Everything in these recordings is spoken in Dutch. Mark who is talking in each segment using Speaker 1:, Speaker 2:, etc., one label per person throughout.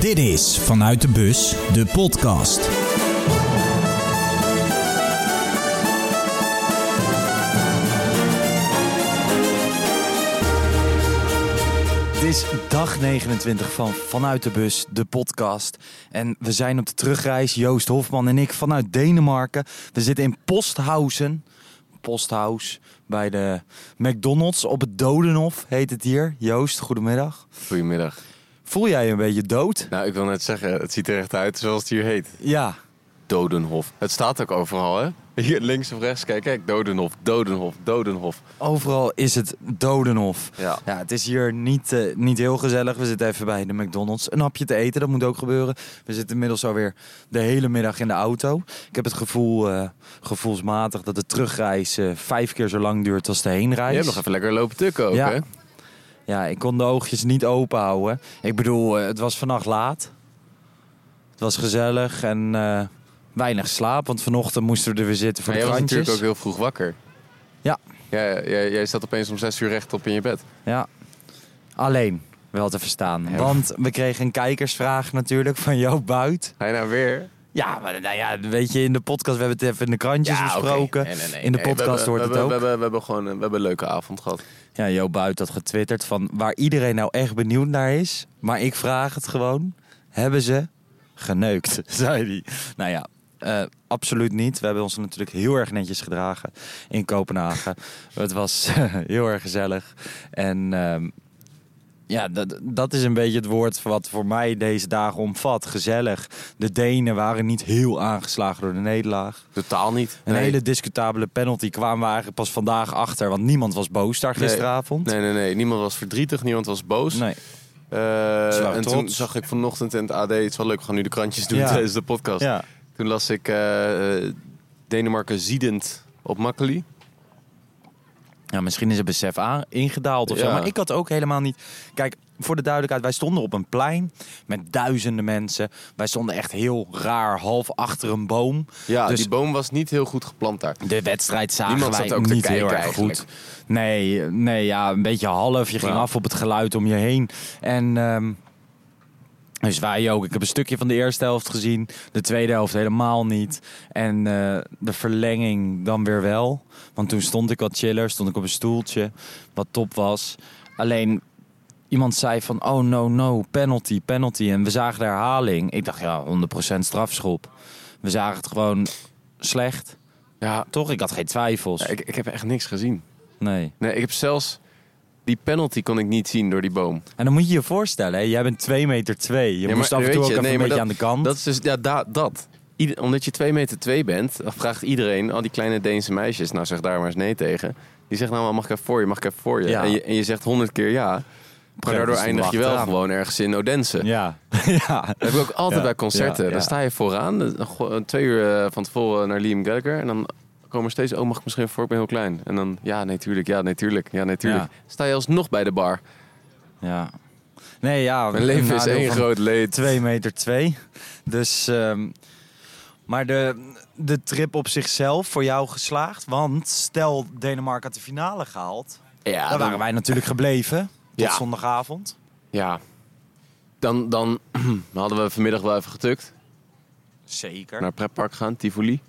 Speaker 1: Dit is Vanuit de Bus, de podcast.
Speaker 2: Het is dag 29 van Vanuit de Bus, de podcast. En we zijn op de terugreis, Joost Hofman en ik, vanuit Denemarken. We zitten in Posthausen, Posthaus, bij de McDonald's op het Dodenhof heet het hier. Joost, goedemiddag.
Speaker 3: Goedemiddag.
Speaker 2: Voel jij je een beetje dood?
Speaker 3: Nou, ik wil net zeggen, het ziet er echt uit zoals het hier heet.
Speaker 2: Ja.
Speaker 3: Dodenhof. Het staat ook overal, hè? Hier links of rechts, kijk, kijk, Dodenhof, Dodenhof, Dodenhof.
Speaker 2: Overal is het Dodenhof.
Speaker 3: Ja.
Speaker 2: Ja, het is hier niet, eh, niet heel gezellig. We zitten even bij de McDonald's. Een hapje te eten, dat moet ook gebeuren. We zitten inmiddels alweer de hele middag in de auto. Ik heb het gevoel, eh, gevoelsmatig, dat de terugreis eh, vijf keer zo lang duurt als de heenreis.
Speaker 3: Je hebt nog even lekker lopen tukken ook,
Speaker 2: Ja.
Speaker 3: hè?
Speaker 2: Ja, ik kon de oogjes niet open houden. Ik bedoel, eh, het was vannacht laat. Het was gezellig en eh, weinig slaap. Want vanochtend moesten we er weer zitten voor
Speaker 3: Maar jij
Speaker 2: de
Speaker 3: was
Speaker 2: krantjes.
Speaker 3: natuurlijk ook heel vroeg wakker.
Speaker 2: Ja.
Speaker 3: Ja, jij, jij zat opeens om zes uur rechtop in je bed.
Speaker 2: Ja. Alleen wel te verstaan.
Speaker 3: Ja.
Speaker 2: Want we kregen een kijkersvraag natuurlijk van Joop Buit.
Speaker 3: Ga je nou weer?
Speaker 2: Ja, maar nou ja, weet je, in de podcast, we hebben het even in de krantjes
Speaker 3: oké.
Speaker 2: besproken.
Speaker 3: Nee, nee, nee.
Speaker 2: In de
Speaker 3: Nee, we
Speaker 2: podcast
Speaker 3: hebben-
Speaker 2: hoort
Speaker 3: we
Speaker 2: het
Speaker 3: hebben-
Speaker 2: ook.
Speaker 3: We hebben, we hebben gewoon een, we hebben een leuke avond gehad.
Speaker 2: Ja, Joop Buit had getwitterd van waar iedereen nou echt benieuwd naar is. Maar ik vraag het gewoon. Hebben ze geneukt, zei hij. Nou ja, eh, absoluut niet. We hebben ons natuurlijk heel erg netjes gedragen in Kopenhagen. het was heel erg gezellig. En ehm, ja, dat, dat is een beetje het woord wat voor mij deze dagen omvat. Gezellig. De Denen waren niet heel aangeslagen door de nederlaag.
Speaker 3: Totaal niet.
Speaker 2: Een
Speaker 3: Nee.
Speaker 2: hele discutabele penalty kwamen we eigenlijk pas vandaag achter. Want niemand was boos daar
Speaker 3: Nee.
Speaker 2: gisteravond.
Speaker 3: Nee, nee, nee. Niemand was verdrietig, niemand was boos.
Speaker 2: Nee.
Speaker 3: Eh,
Speaker 2: Ze waren
Speaker 3: en toen
Speaker 2: trots.
Speaker 3: zag ik vanochtend in het AD, het is wel leuk, we gaan nu de krantjes doen
Speaker 2: Ja.
Speaker 3: tijdens de podcast. Toen las ik eh, eh, Denemarken ziedend op Makkeli.
Speaker 2: ja, misschien is het besef aan, ingedaald of zo.
Speaker 3: Ja.
Speaker 2: Maar ik had ook helemaal niet... Kijk, voor de duidelijkheid, wij stonden op een plein met duizenden mensen. Wij stonden echt heel raar, half achter een boom.
Speaker 3: Ja,
Speaker 2: Dus-
Speaker 3: die boom was niet heel goed geplant daar.
Speaker 2: De wedstrijd zagen
Speaker 3: Niemand
Speaker 2: wij
Speaker 3: zat ook te
Speaker 2: niet
Speaker 3: kijken
Speaker 2: heel erg
Speaker 3: eigenlijk.
Speaker 2: goed. Nee, nee, ja, een beetje half. Je ging
Speaker 3: Ja.
Speaker 2: af op het geluid om je heen. En... ehm, dus wij ook. Ik heb een stukje van de eerste helft gezien. De tweede helft helemaal niet. En eh, de verlenging dan weer wel. Want toen stond ik wat chiller. Stond ik op een stoeltje. Wat top was. Alleen iemand zei van... Oh no, no. Penalty, penalty. En we zagen de herhaling. Ik dacht ja, 100% strafschop. We zagen het gewoon slecht.
Speaker 3: Ja,
Speaker 2: Toch? Ik had geen twijfels.
Speaker 3: ja, ik, ik heb echt niks gezien.
Speaker 2: Nee.
Speaker 3: Nee, ik heb zelfs die penalty kon ik niet zien door die boom.
Speaker 2: En dan moet je je voorstellen, hè? jij bent 2 meter 2. Je
Speaker 3: maar
Speaker 2: moest af en toe
Speaker 3: weet
Speaker 2: ook
Speaker 3: je,
Speaker 2: even
Speaker 3: nee,
Speaker 2: een
Speaker 3: maar
Speaker 2: beetje aan de kant.
Speaker 3: Dat is dus, ja, da- dat. Ieder- omdat je 2 meter 2 bent, dan vraagt iedereen, al die kleine Deense meisjes, nou zeg daar maar eens nee tegen. Die zegt nou, maar, mag ik even voor je, mag ik even voor je.
Speaker 2: Ja.
Speaker 3: En, je en je zegt honderd keer ja. Maar
Speaker 2: Ja,
Speaker 3: daardoor
Speaker 2: dus
Speaker 3: eindig je wel
Speaker 2: achteraan.
Speaker 3: gewoon ergens in Odense.
Speaker 2: Ja. ja.
Speaker 3: Dat heb ik ook altijd
Speaker 2: Ja,
Speaker 3: bij concerten.
Speaker 2: ja, ja.
Speaker 3: Dan sta je vooraan, eh, go- eh, twee uur eh, van tevoren naar Liam Gallagher. En dan komen er steeds, oh mag ik misschien voor, ik ben heel klein. En dan, ja natuurlijk, ja natuurlijk, ja natuurlijk.
Speaker 2: Ja.
Speaker 3: Sta je alsnog bij de bar.
Speaker 2: Ja. Nee, ja. Nou,
Speaker 3: Mijn leven is één groot leed.
Speaker 2: 2 meter 2. Dus, ehm, maar de, de trip op zichzelf voor jou geslaagd. Want stel Denemarken had de finale gehaald.
Speaker 3: Ja,
Speaker 2: dan
Speaker 3: dan-
Speaker 2: waren wij natuurlijk gebleven. Tot
Speaker 3: Ja.
Speaker 2: zondagavond.
Speaker 3: Ja. Dan, dan hadden we vanmiddag wel even getukt.
Speaker 2: Zeker.
Speaker 3: Naar het pretpark gaan, Tivoli.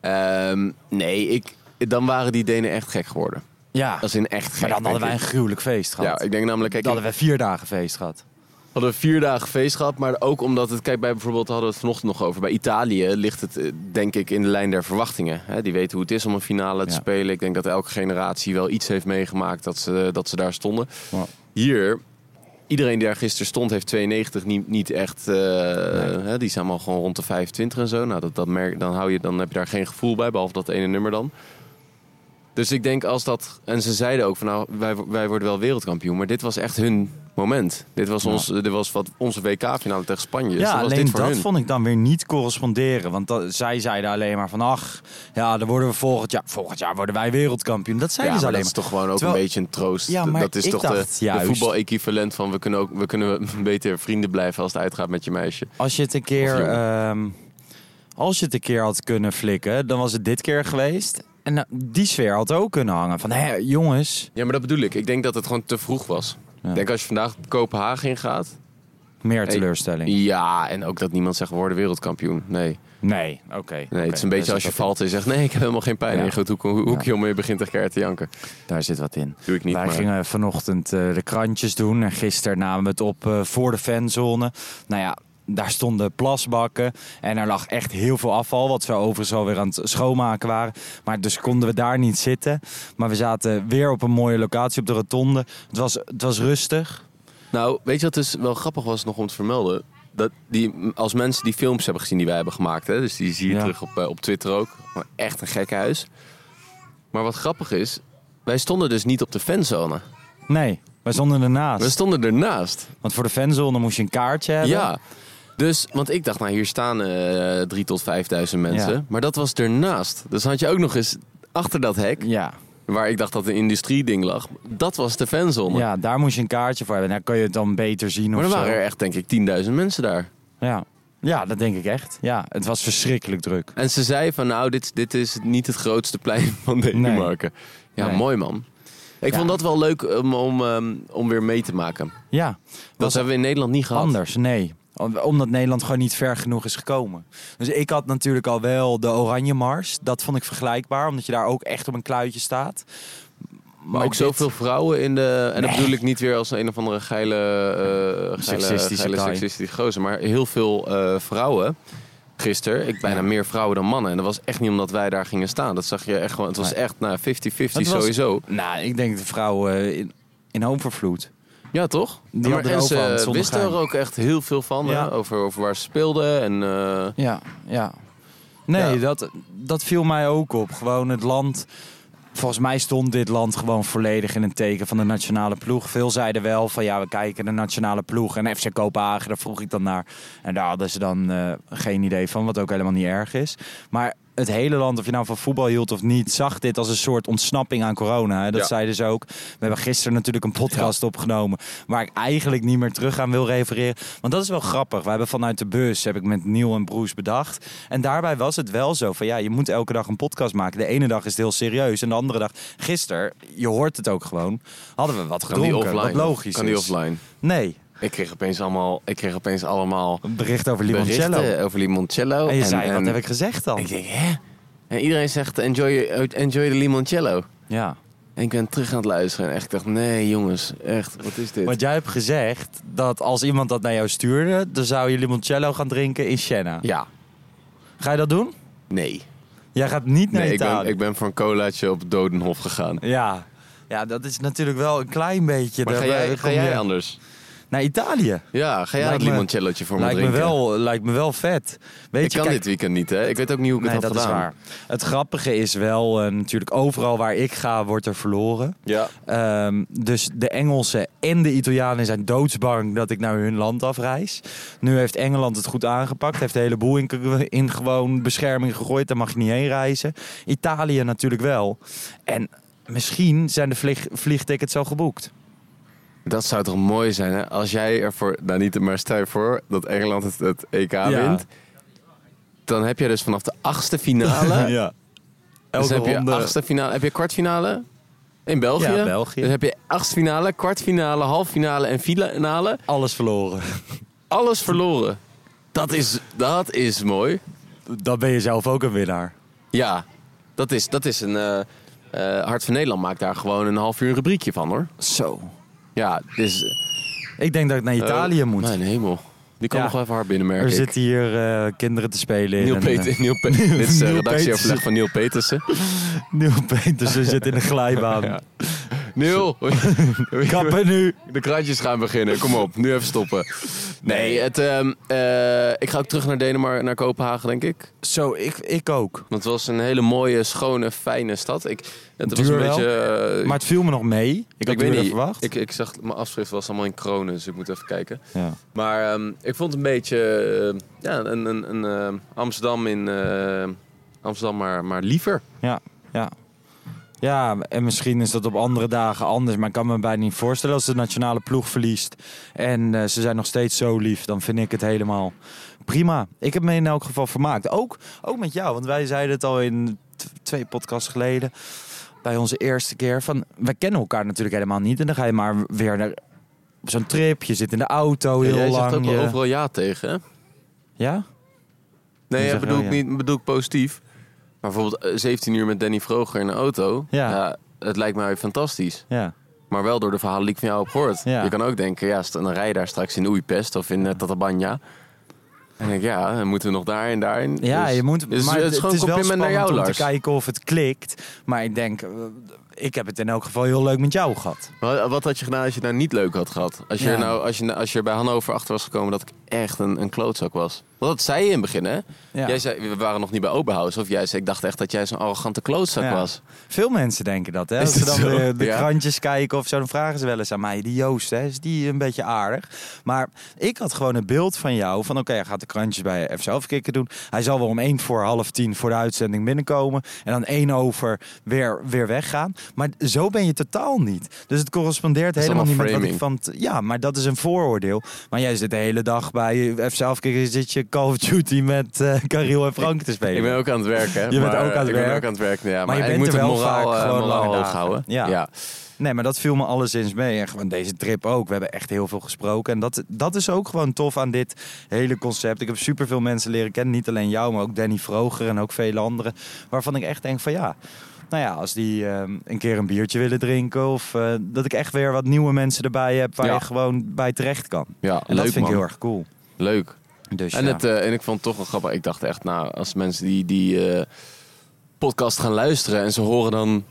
Speaker 3: Ehm, nee, ik, dan waren die Denen echt gek geworden.
Speaker 2: ja.
Speaker 3: Dat is in echt gek.
Speaker 2: Ah. Maar dan hadden wij een
Speaker 3: denk ik.
Speaker 2: gruwelijk feest gehad.
Speaker 3: Ja, ik denk namelijk... Kijk,
Speaker 2: Dan hadden wij vier dagen feest gehad.
Speaker 3: We hadden vier dagen feest gehad, maar ook omdat het, kijk, bij bijvoorbeeld hadden we het vanochtend nog over. Bij Italië ligt het, eh, denk ik, in de lijn der verwachtingen. Hè, die weten hoe het is om een finale te
Speaker 2: Ja.
Speaker 3: spelen. Ik denk dat elke generatie wel iets heeft meegemaakt dat ze, dat ze daar stonden.
Speaker 2: Ja.
Speaker 3: Hier, iedereen die daar gisteren stond, heeft 92 niet, niet echt. eh, hè, die zijn allemaal gewoon rond de 25 en zo. Nou, dat, dat merk, dan, hou je, dan heb je daar geen gevoel bij, behalve dat ene nummer dan. Dus ik denk als dat. En ze zeiden ook van nou, wij, wij worden wel wereldkampioen. Maar dit was echt hun moment. Dit was, ons, dit was wat, onze WK-finale tegen Spanje. dus
Speaker 2: Ja,
Speaker 3: dan was
Speaker 2: alleen
Speaker 3: dit voor
Speaker 2: dat
Speaker 3: hun.
Speaker 2: vond ik dan weer niet corresponderen. Want dat, zij zeiden alleen maar van... ach, ja, dan worden we volgend jaar... volgend jaar worden wij wereldkampioen. Dat
Speaker 3: ja,
Speaker 2: zeiden
Speaker 3: maar
Speaker 2: ze dus alleen
Speaker 3: dat is toch
Speaker 2: maar.
Speaker 3: gewoon ook
Speaker 2: Terwijl-
Speaker 3: een beetje een troost.
Speaker 2: Ja, maar
Speaker 3: dat is
Speaker 2: ik
Speaker 3: toch
Speaker 2: dacht
Speaker 3: de, de
Speaker 2: juist-
Speaker 3: voetbal-equivalent van we kunnen, ook, we kunnen beter vrienden blijven als het uitgaat met je meisje.
Speaker 2: Als je het een keer...
Speaker 3: Of
Speaker 2: ehm, als je het een keer had kunnen flikken... dan was het dit keer geweest. En nou, die sfeer had ook kunnen hangen. Van, hé, jongens...
Speaker 3: Ja, maar dat bedoel ik. Ik denk dat het gewoon te vroeg was. Ik denk als je vandaag Kopenhagen ingaat,
Speaker 2: Meer teleurstelling.
Speaker 3: Ja, en ook dat niemand zegt, we worden wereldkampioen. Nee.
Speaker 2: Nee, oké.
Speaker 3: Nee, het is een beetje als je valt en je zegt... nee, ik heb helemaal geen pijn.
Speaker 2: Ja.
Speaker 3: En je gaat hoek, hoek, hoekje om en je begint echt keihard te janken.
Speaker 2: Daar zit wat in.
Speaker 3: Doe ik niet,
Speaker 2: Wij
Speaker 3: maar-
Speaker 2: gingen vanochtend eh, de krantjes doen. En gisteren namen we het op eh, voor de fanzone. Nou ja, daar stonden plasbakken. En er lag echt heel veel afval. Wat ze overigens alweer aan het schoonmaken waren. Maar dus konden we daar niet zitten. Maar we zaten weer op een mooie locatie op de rotonde. Het was, het was rustig.
Speaker 3: Nou, weet je wat dus wel grappig was nog om te vermelden? Dat die, als mensen die films hebben gezien die wij hebben gemaakt... Hè, dus die zie je
Speaker 2: Ja.
Speaker 3: terug op, eh, op Twitter ook. Maar echt een gek huis. Maar wat grappig is... wij stonden dus niet op de fanzone.
Speaker 2: Nee, wij stonden
Speaker 3: We
Speaker 2: ernaast.
Speaker 3: stonden ernaast.
Speaker 2: Want voor de fanzone moest je een kaartje hebben.
Speaker 3: Ja. Dus, want ik dacht, nou hier staan eh drie tot vijfduizend mensen.
Speaker 2: Ja.
Speaker 3: Maar dat was ernaast. Dus had je ook nog eens achter dat hek...
Speaker 2: Ja,
Speaker 3: waar ik dacht dat een industrieding lag. Dat was de fanzone.
Speaker 2: ja, daar moest je een kaartje voor hebben. Dan kan je het dan beter zien
Speaker 3: maar
Speaker 2: of
Speaker 3: er
Speaker 2: zo.
Speaker 3: waren er echt, denk ik, 10.000 mensen daar.
Speaker 2: Ja. ja, dat denk ik echt. Ja, het was verschrikkelijk druk.
Speaker 3: En ze zei van, nou, dit, dit is niet het grootste plein van Denemarken. Ja,
Speaker 2: Nee.
Speaker 3: mooi man. Ik
Speaker 2: Ja.
Speaker 3: vond dat wel leuk om, om, ehm, om weer mee te maken.
Speaker 2: Ja,
Speaker 3: Dat
Speaker 2: was
Speaker 3: hebben we in Nederland niet gehad.
Speaker 2: anders. Nee, Om- omdat Nederland gewoon niet ver genoeg is gekomen. Dus ik had natuurlijk al wel de Oranje Mars. Dat vond ik vergelijkbaar, omdat je daar ook echt op een kluitje staat.
Speaker 3: Maar, ook
Speaker 2: dit-
Speaker 3: zoveel vrouwen in de... En dat bedoel ik niet weer als een of andere geile... eh, geile
Speaker 2: Seksistische
Speaker 3: geile
Speaker 2: guy.
Speaker 3: seksistische gozer. Maar heel veel eh, vrouwen... Gisteren, ik bijna meer vrouwen dan mannen. En dat was echt niet omdat wij daar gingen staan. Dat zag je echt gewoon. Het was
Speaker 2: Nee.
Speaker 3: echt nou, 50-50
Speaker 2: Het was-
Speaker 3: sowieso.
Speaker 2: Nou, ik denk de vrouwen in, in overvloed.
Speaker 3: Ja, toch?
Speaker 2: Die
Speaker 3: maar
Speaker 2: hadden er
Speaker 3: en
Speaker 2: ook van,
Speaker 3: ze
Speaker 2: zonder
Speaker 3: wisten er
Speaker 2: gein.
Speaker 3: ook echt heel veel van,
Speaker 2: Ja.
Speaker 3: hè? Over, over waar ze speelden. En, eh,
Speaker 2: Ja, ja. Nee,
Speaker 3: Ja.
Speaker 2: Dat, dat viel mij ook op. Gewoon het land. Volgens mij stond dit land gewoon volledig in het teken van de nationale ploeg. Veel zeiden wel van ja, we kijken de nationale ploeg en FC Kopenhagen, daar vroeg ik dan naar. En daar hadden ze dan eh, geen idee van, wat ook helemaal niet erg is. Maar het hele land, of je nou van voetbal hield of niet, zag dit als een soort ontsnapping aan corona. Hè? Dat
Speaker 3: Ja.
Speaker 2: zeiden ze ook. We hebben gisteren natuurlijk een podcast opgenomen waar ik eigenlijk niet meer terug aan wil refereren. Want dat is wel grappig. We hebben vanuit de bus, heb ik met Neil en Broes bedacht. En daarbij was het wel zo van ja, je moet elke dag een podcast maken. De ene dag is het heel serieus en de andere dag, gisteren, je hoort het ook gewoon, hadden we wat
Speaker 3: kan die
Speaker 2: gedronken.
Speaker 3: offline?
Speaker 2: Wat logisch
Speaker 3: Kan die
Speaker 2: is.
Speaker 3: offline?
Speaker 2: Nee,
Speaker 3: Ik kreeg opeens allemaal, ik kreeg opeens allemaal
Speaker 2: een bericht over Limoncello.
Speaker 3: berichten over Limoncello.
Speaker 2: En je zei, wat heb ik gezegd dan?
Speaker 3: Ik denk, hè? En iedereen zegt, enjoy, enjoy de Limoncello.
Speaker 2: Ja.
Speaker 3: En ik ben terug aan het luisteren. En echt, ik dacht, nee jongens, echt, wat is dit?
Speaker 2: Want jij hebt gezegd dat als iemand dat naar jou stuurde, dan zou je limoncello gaan drinken in Siena.
Speaker 3: Ja,
Speaker 2: Ga je dat doen?
Speaker 3: nee.
Speaker 2: Jij gaat niet naar
Speaker 3: Nee, ik ben,
Speaker 2: Italië.
Speaker 3: ik ben voor een colaatje op Dodenhof gegaan.
Speaker 2: Ja. ja, dat is natuurlijk wel een klein beetje.
Speaker 3: Maar
Speaker 2: de-
Speaker 3: ga jij,
Speaker 2: kom
Speaker 3: ga
Speaker 2: je-
Speaker 3: jij anders?
Speaker 2: Naar Italië.
Speaker 3: Ja, ga jij
Speaker 2: Lijkt
Speaker 3: het
Speaker 2: me-
Speaker 3: limoncelloetje voor me
Speaker 2: Lijkt me,
Speaker 3: drinken?
Speaker 2: wel, lijkt me wel vet. Weet
Speaker 3: Ik
Speaker 2: je,
Speaker 3: kan
Speaker 2: kijk,
Speaker 3: dit weekend niet, hè? Ik weet ook niet hoe ik het
Speaker 2: nee,
Speaker 3: had
Speaker 2: dat
Speaker 3: gedaan.
Speaker 2: is waar. Het grappige is wel, eh, natuurlijk, overal waar ik ga, wordt er verloren.
Speaker 3: Ja.
Speaker 2: Ehm, dus de Engelsen en de Italianen zijn doodsbang dat ik naar hun land afreis. Nu heeft Engeland het goed aangepakt. Heeft de hele boel in, in gewoon bescherming gegooid. Daar mag je niet heen reizen. Italië natuurlijk wel. En misschien zijn de vlieg- vliegtickets al geboekt.
Speaker 3: Dat zou toch mooi zijn, hè? Als jij ervoor, nou niet, maar stel je voor dat Engeland het, het EK
Speaker 2: Ja.
Speaker 3: wint. Dan heb je dus vanaf de achtste finale.
Speaker 2: ja.
Speaker 3: dus
Speaker 2: Elke
Speaker 3: heb je
Speaker 2: ronde.
Speaker 3: achtste finale. Heb je kwartfinale? In België?
Speaker 2: Ja, België.
Speaker 3: Dan heb je achtste finale, kwartfinale, halffinale en finale.
Speaker 2: Alles verloren.
Speaker 3: Alles verloren. Dat is, dat is mooi.
Speaker 2: Dan ben je zelf ook een winnaar.
Speaker 3: Ja, dat is, dat is een. eh, eh, Hart van Nederland maakt daar gewoon een half uur een rubriekje van hoor.
Speaker 2: Zo.
Speaker 3: Ja, dus.
Speaker 2: Ik denk dat ik naar
Speaker 3: Eh,
Speaker 2: Italië moet.
Speaker 3: Mijn hemel. Die kan
Speaker 2: Ja.
Speaker 3: nog wel even hard binnenmerken.
Speaker 2: er
Speaker 3: ik.
Speaker 2: zitten hier eh, kinderen te spelen in.
Speaker 3: Neil
Speaker 2: en,
Speaker 3: Peter,
Speaker 2: eh,
Speaker 3: Neil Pe- dit is de
Speaker 2: Neil
Speaker 3: redactieoverleg
Speaker 2: Petersen.
Speaker 3: van Neil Petersen.
Speaker 2: Neil Petersen zit in de glijbaan.
Speaker 3: Ja. Neil,
Speaker 2: Kappen nu.
Speaker 3: de krantjes gaan beginnen. Kom op, nu even stoppen. Nee, het, ehm, eh, ik ga ook terug naar Denemarken, naar Kopenhagen, denk ik.
Speaker 2: Zo, ik, ik ook.
Speaker 3: Want het was een hele mooie, schone, fijne stad. Ik, het was
Speaker 2: Duur
Speaker 3: een
Speaker 2: wel,
Speaker 3: beetje... eh,
Speaker 2: Maar het viel me nog mee. Ik, had
Speaker 3: weet
Speaker 2: duurder
Speaker 3: niet,
Speaker 2: verwacht.
Speaker 3: Ik, ik zag, mijn afschrift was allemaal in kronen, dus ik moet even kijken.
Speaker 2: Ja.
Speaker 3: Maar ehm, ik vond een beetje eh, ja, een, een, een, ehm, Amsterdam in... eh, Amsterdam, maar, maar liever.
Speaker 2: ja, ja. Ja, en misschien is dat op andere dagen anders. Maar ik kan me bijna niet voorstellen als de nationale ploeg verliest. En eh, ze zijn nog steeds zo lief. Dan vind ik het helemaal prima. Ik heb me in elk geval vermaakt. Ook, ook met jou, want wij zeiden het al in t- twee podcasts geleden. Bij onze eerste keer. Van, we kennen elkaar natuurlijk helemaal niet. En dan ga je maar weer naar op zo'n trip, je zit in de auto heel
Speaker 3: jij
Speaker 2: lang.
Speaker 3: zegt ook wel
Speaker 2: je-
Speaker 3: overal ja tegen, hè?
Speaker 2: Ja?
Speaker 3: Nee,
Speaker 2: zeg
Speaker 3: ja, bedoel,
Speaker 2: wel
Speaker 3: ik
Speaker 2: oh ja.
Speaker 3: niet, bedoel ik positief. Maar bijvoorbeeld eh, 17 uur met Danny Vroger in de auto.
Speaker 2: Ja.
Speaker 3: het lijkt mij fantastisch.
Speaker 2: Ja.
Speaker 3: Maar wel door de verhalen die ik van jou heb gehoord.
Speaker 2: Ja.
Speaker 3: Je kan ook denken, ja, st- dan rij je daar straks in Oeipest of in eh, Tatabanya. En dan denk ik, ja, dan moeten we nog daar en daar.
Speaker 2: Ja,
Speaker 3: Dus-
Speaker 2: je moet.
Speaker 3: dus
Speaker 2: maar
Speaker 3: het is gewoon een
Speaker 2: wel
Speaker 3: compliment naar jou,
Speaker 2: spannend om
Speaker 3: Lars.
Speaker 2: te kijken of het klikt. Maar ik denk, eh, ik heb het in elk geval heel leuk met jou gehad.
Speaker 3: Wat, wat had je gedaan als je het nou niet leuk had gehad? Als je,
Speaker 2: Ja.
Speaker 3: er nou, als je, als je er bij Hannover achter was gekomen dat ik echt een, een klootzak was. Want dat zei je in het begin, hè?
Speaker 2: Ja.
Speaker 3: Jij zei, we waren nog niet bij Oberhaus. Of jij zei, ik dacht echt dat jij zo'n arrogante klootzak
Speaker 2: Ja.
Speaker 3: was.
Speaker 2: Veel mensen denken dat, hè?
Speaker 3: Is
Speaker 2: Als ze
Speaker 3: dat
Speaker 2: dan
Speaker 3: zo?
Speaker 2: de, de
Speaker 3: Ja.
Speaker 2: krantjes kijken of zo, dan vragen ze wel eens aan mij. Die Joost, hè, is die een beetje aardig? Maar ik had gewoon een beeld van jou. Van oké, hij gaat de krantjes bij FC Afkikken doen. Hij zal wel om één voor half tien voor de uitzending binnenkomen. En dan één over weer, weer weggaan. Maar zo ben je totaal niet. Dus het correspondeert
Speaker 3: is
Speaker 2: helemaal niet
Speaker 3: allemaal
Speaker 2: met wat ik van... t- Ja, maar dat is een vooroordeel. Maar jij zit de hele dag bij FC Afkikken. Zit je Call of Duty met eh Karel en Frank te spelen.
Speaker 3: Ik ben ook aan het werk, hè?
Speaker 2: bent ook aan het
Speaker 3: ik ben
Speaker 2: werk.
Speaker 3: ook aan het werk, ja. Maar,
Speaker 2: je
Speaker 3: ik
Speaker 2: bent
Speaker 3: moet
Speaker 2: er
Speaker 3: het
Speaker 2: wel
Speaker 3: moraal,
Speaker 2: vaak
Speaker 3: eh,
Speaker 2: gewoon
Speaker 3: moraal
Speaker 2: lange
Speaker 3: hoog
Speaker 2: dagen.
Speaker 3: houden.
Speaker 2: Ja. Nee, maar dat viel me alleszins mee. En gewoon deze trip ook. We hebben echt heel veel gesproken. En dat, dat is ook gewoon tof aan dit hele concept. Ik heb superveel mensen leren kennen. Niet alleen jou, maar ook Danny Vroger en ook vele anderen. Waarvan ik echt denk van ja... Nou ja, als die ehm, een keer een biertje willen drinken... of eh, dat ik echt weer wat nieuwe mensen erbij heb... waar
Speaker 3: Ja.
Speaker 2: je gewoon bij terecht kan.
Speaker 3: Ja,
Speaker 2: En
Speaker 3: leuk
Speaker 2: dat vind
Speaker 3: man.
Speaker 2: ik heel erg cool.
Speaker 3: Leuk.
Speaker 2: Dus
Speaker 3: En,
Speaker 2: ja.
Speaker 3: het, eh, en ik vond het toch wel grappig. Ik dacht echt, nou, als mensen die, die eh, podcast gaan luisteren en ze horen dan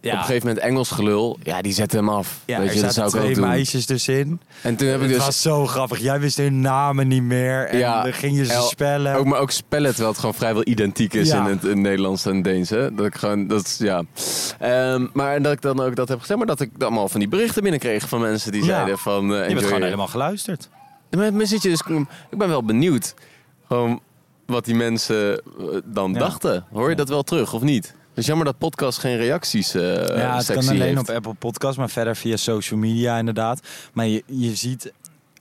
Speaker 2: Ja.
Speaker 3: op een gegeven moment Engels gelul, ja, die zetten hem af.
Speaker 2: Ja,
Speaker 3: Weet
Speaker 2: er
Speaker 3: je, dat
Speaker 2: zaten
Speaker 3: zou ik
Speaker 2: twee
Speaker 3: ook doen.
Speaker 2: meisjes dus in.
Speaker 3: En toen heb ik
Speaker 2: Het
Speaker 3: dus.
Speaker 2: was zo grappig. Jij wist hun namen niet meer. En
Speaker 3: Ja,
Speaker 2: dan ging je ze
Speaker 3: el-
Speaker 2: spellen.
Speaker 3: Ook, maar ook spellen, terwijl het gewoon vrijwel identiek is
Speaker 2: eh, Ja.
Speaker 3: in het in het Nederlands en Deens. Hè? Dat ik gewoon, dat is, ja. Ehm, maar dat ik dan ook dat heb gezegd, maar dat ik dan allemaal van die berichten binnenkreeg van mensen die
Speaker 2: Ja.
Speaker 3: zeiden van... eh,
Speaker 2: je bent
Speaker 3: enjoy
Speaker 2: gewoon
Speaker 3: it.
Speaker 2: helemaal geluisterd.
Speaker 3: Maar, maar zit je dus, ik ben wel benieuwd gewoon wat die mensen eh, dan
Speaker 2: Ja.
Speaker 3: dachten. Hoor je dat wel terug of niet? Het is jammer dat podcast geen reacties eh
Speaker 2: ja, het
Speaker 3: sectie
Speaker 2: kan alleen
Speaker 3: heeft.
Speaker 2: op Apple Podcast, maar verder via social media inderdaad. Maar je, je ziet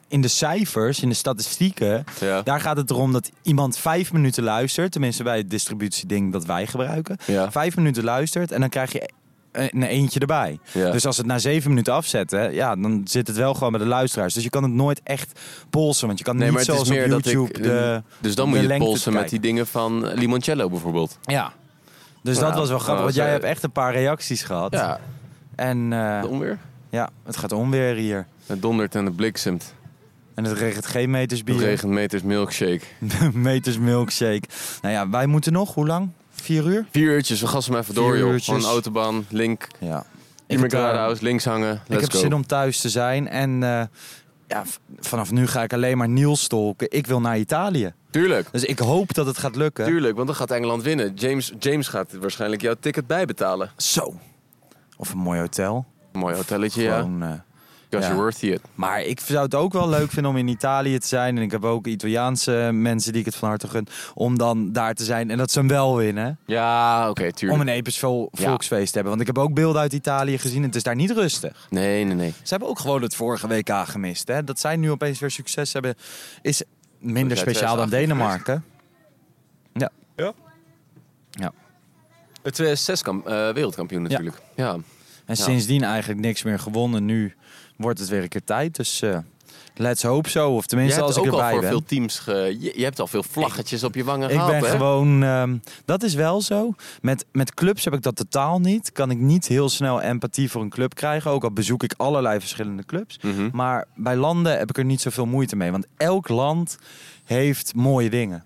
Speaker 2: in de cijfers, in de statistieken,
Speaker 3: Ja.
Speaker 2: daar gaat het erom dat iemand vijf minuten luistert. Tenminste bij het distributieding dat wij gebruiken.
Speaker 3: Ja.
Speaker 2: Vijf minuten luistert en dan krijg je e-, een eentje erbij.
Speaker 3: Ja.
Speaker 2: Dus als we het na zeven minuten afzetten, ja, dan zit het wel gewoon bij de luisteraars. Dus je kan het nooit echt polsen, want je kan
Speaker 3: Nee, maar
Speaker 2: niet
Speaker 3: het is
Speaker 2: zoals op
Speaker 3: meer dat
Speaker 2: YouTube
Speaker 3: ik...
Speaker 2: de
Speaker 3: dus dan
Speaker 2: de
Speaker 3: moet je het
Speaker 2: lengte
Speaker 3: polsen
Speaker 2: te
Speaker 3: met die dingen van Limoncello bijvoorbeeld.
Speaker 2: kijken. Ja. Dus
Speaker 3: Nou,
Speaker 2: dat was wel grappig,
Speaker 3: nou,
Speaker 2: want jij
Speaker 3: ze-
Speaker 2: hebt echt een paar reacties gehad.
Speaker 3: Ja,
Speaker 2: En eh,
Speaker 3: de onweer.
Speaker 2: ja, het gaat onweer hier.
Speaker 3: Het dondert en het bliksemt.
Speaker 2: En het regent geen meters
Speaker 3: Het
Speaker 2: bier,
Speaker 3: regent meters milkshake.
Speaker 2: meters milkshake. Nou ja, wij moeten nog, hoe lang? Vier uur?
Speaker 3: Vier uurtjes, we gassen maar even door
Speaker 2: Vier
Speaker 3: joh.
Speaker 2: uurtjes.
Speaker 3: Gewoon autobaan, link,
Speaker 2: Ja.
Speaker 3: in mijn
Speaker 2: heb, eh,
Speaker 3: guardrails, links hangen,
Speaker 2: ik
Speaker 3: let's
Speaker 2: heb
Speaker 3: go.
Speaker 2: zin om thuis te zijn en eh, ja, v- vanaf nu ga ik alleen maar Niels stalken. Ik wil naar Italië.
Speaker 3: Tuurlijk.
Speaker 2: Dus ik hoop dat het gaat lukken.
Speaker 3: Tuurlijk, want dan gaat Engeland winnen. James, James gaat waarschijnlijk jouw ticket bijbetalen.
Speaker 2: Zo. Of een mooi hotel.
Speaker 3: Mooi hotelletje, ja.
Speaker 2: Gewoon, eh,
Speaker 3: Because
Speaker 2: Ja.
Speaker 3: you're worth it.
Speaker 2: Maar ik zou het ook wel leuk vinden om in Italië te zijn. En ik heb ook Italiaanse mensen die ik het van harte gun. Om dan daar te zijn. En dat ze hem wel winnen.
Speaker 3: Ja, oké,
Speaker 2: om
Speaker 3: tuurlijk.
Speaker 2: een episch vol-
Speaker 3: Ja.
Speaker 2: volksfeest te hebben. Want ik heb ook beelden uit Italië gezien en het is daar niet rustig.
Speaker 3: Nee, nee, nee.
Speaker 2: Ze hebben ook gewoon het vorige WK gemist. Hè? Dat zij nu opeens weer succes hebben, is minder
Speaker 3: jij
Speaker 2: speciaal dan
Speaker 3: 2018
Speaker 2: Denemarken. Ja.
Speaker 3: Ja?
Speaker 2: ja.
Speaker 3: Het 2006 kamp, eh, wereldkampioen natuurlijk. Ja.
Speaker 2: En
Speaker 3: Ja.
Speaker 2: sindsdien eigenlijk niks meer gewonnen. Nu wordt het weer een keer tijd. Dus eh, let's hope zo. Of
Speaker 3: Je
Speaker 2: tenminste
Speaker 3: hebt
Speaker 2: als ik
Speaker 3: ook al
Speaker 2: erbij
Speaker 3: voor
Speaker 2: ben.
Speaker 3: veel teams... Ge, je, je hebt al veel vlaggetjes op je wangen
Speaker 2: Ik
Speaker 3: gehad,
Speaker 2: ben
Speaker 3: hè?
Speaker 2: gewoon, ehm, dat is wel zo. Met, met clubs heb ik dat totaal niet. Kan ik niet heel snel empathie voor een club krijgen. Ook al bezoek ik allerlei verschillende clubs.
Speaker 3: Mhm.
Speaker 2: Maar bij landen heb ik er niet zoveel moeite mee. Want elk land heeft mooie dingen.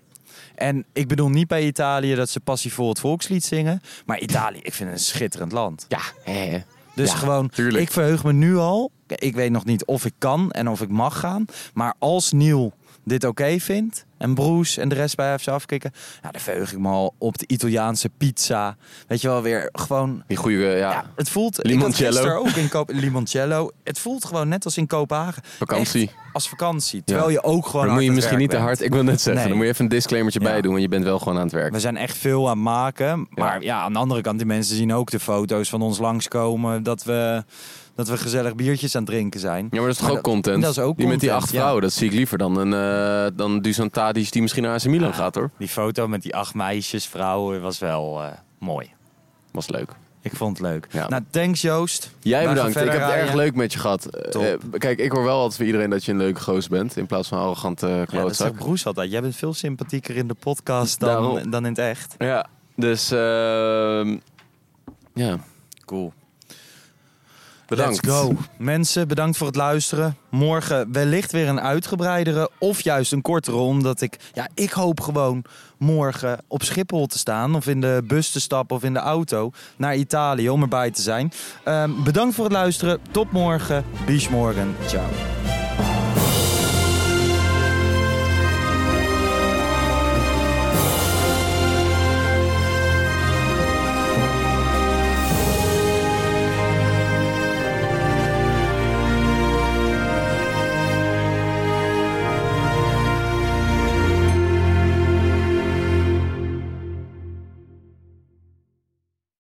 Speaker 2: En ik bedoel niet bij Italië dat ze passie voor het volkslied zingen. Maar Italië, ik vind het een schitterend land.
Speaker 3: Ja, hè.
Speaker 2: Dus
Speaker 3: Ja,
Speaker 2: gewoon,
Speaker 3: tuurlijk.
Speaker 2: ik verheug me nu al. Ik weet nog niet of ik kan en of ik mag gaan. Maar als Neil dit oké vindt en Broes en de rest bij FC afkicken, ja, dan verheug ik me al op de Italiaanse pizza. Weet je wel, weer gewoon...
Speaker 3: Die goede, ja.
Speaker 2: Ja, het voelt...
Speaker 3: Limoncello.
Speaker 2: Ik had gisteren ook in Koop, Limoncello. Het voelt gewoon net als in Kopenhagen.
Speaker 3: Vakantie.
Speaker 2: Echt als vakantie. Terwijl je ook gewoon
Speaker 3: Dan
Speaker 2: hard
Speaker 3: moet je
Speaker 2: aan het
Speaker 3: misschien niet
Speaker 2: werk
Speaker 3: te
Speaker 2: bent.
Speaker 3: hard... Ik wil net zeggen,
Speaker 2: Nee.
Speaker 3: dan moet je even een disclaimertje
Speaker 2: Ja.
Speaker 3: bij doen. Want je bent wel gewoon aan het werk.
Speaker 2: We zijn echt veel aan het maken. Maar ja, aan de andere kant, die mensen zien ook de foto's van ons langskomen. Dat we, dat we gezellig biertjes aan het drinken zijn.
Speaker 3: Ja, maar dat is toch ook
Speaker 2: dat-
Speaker 3: content?
Speaker 2: dat is ook
Speaker 3: Die met die
Speaker 2: content,
Speaker 3: acht
Speaker 2: ja.
Speaker 3: vrouwen, dat zie ik liever dan, een, eh dan Dusan Tadic die misschien naar AC Milan gaat, hoor.
Speaker 2: Die foto met die acht meisjes, vrouwen, was wel eh, mooi.
Speaker 3: Was leuk.
Speaker 2: Ik vond het leuk.
Speaker 3: Ja.
Speaker 2: Nou, thanks Joost. Wij
Speaker 3: Jij
Speaker 2: gaan
Speaker 3: bedankt. Ik
Speaker 2: verder
Speaker 3: heb het
Speaker 2: rijden.
Speaker 3: erg leuk met je gehad. Eh,
Speaker 2: Top.
Speaker 3: eh, kijk, ik hoor wel altijd van iedereen dat je een leuke goos bent. In plaats van een arrogante eh,
Speaker 2: Ja, dat
Speaker 3: klootzak.
Speaker 2: zegt Broes altijd. Jij bent veel sympathieker in de podcast dan,
Speaker 3: Daarom.
Speaker 2: dan in het echt.
Speaker 3: Ja, dus ehm, ja,
Speaker 2: Cool.
Speaker 3: bedankt.
Speaker 2: Let's go. Mensen, bedankt voor het luisteren. Morgen wellicht weer een uitgebreidere of juist een kortere. Omdat ik, ja, ik hoop gewoon morgen op Schiphol te staan. Of in de bus te stappen of in de auto naar Italië om erbij te zijn. Ehm, bedankt voor het luisteren. Tot morgen. Bis morgen. Ciao.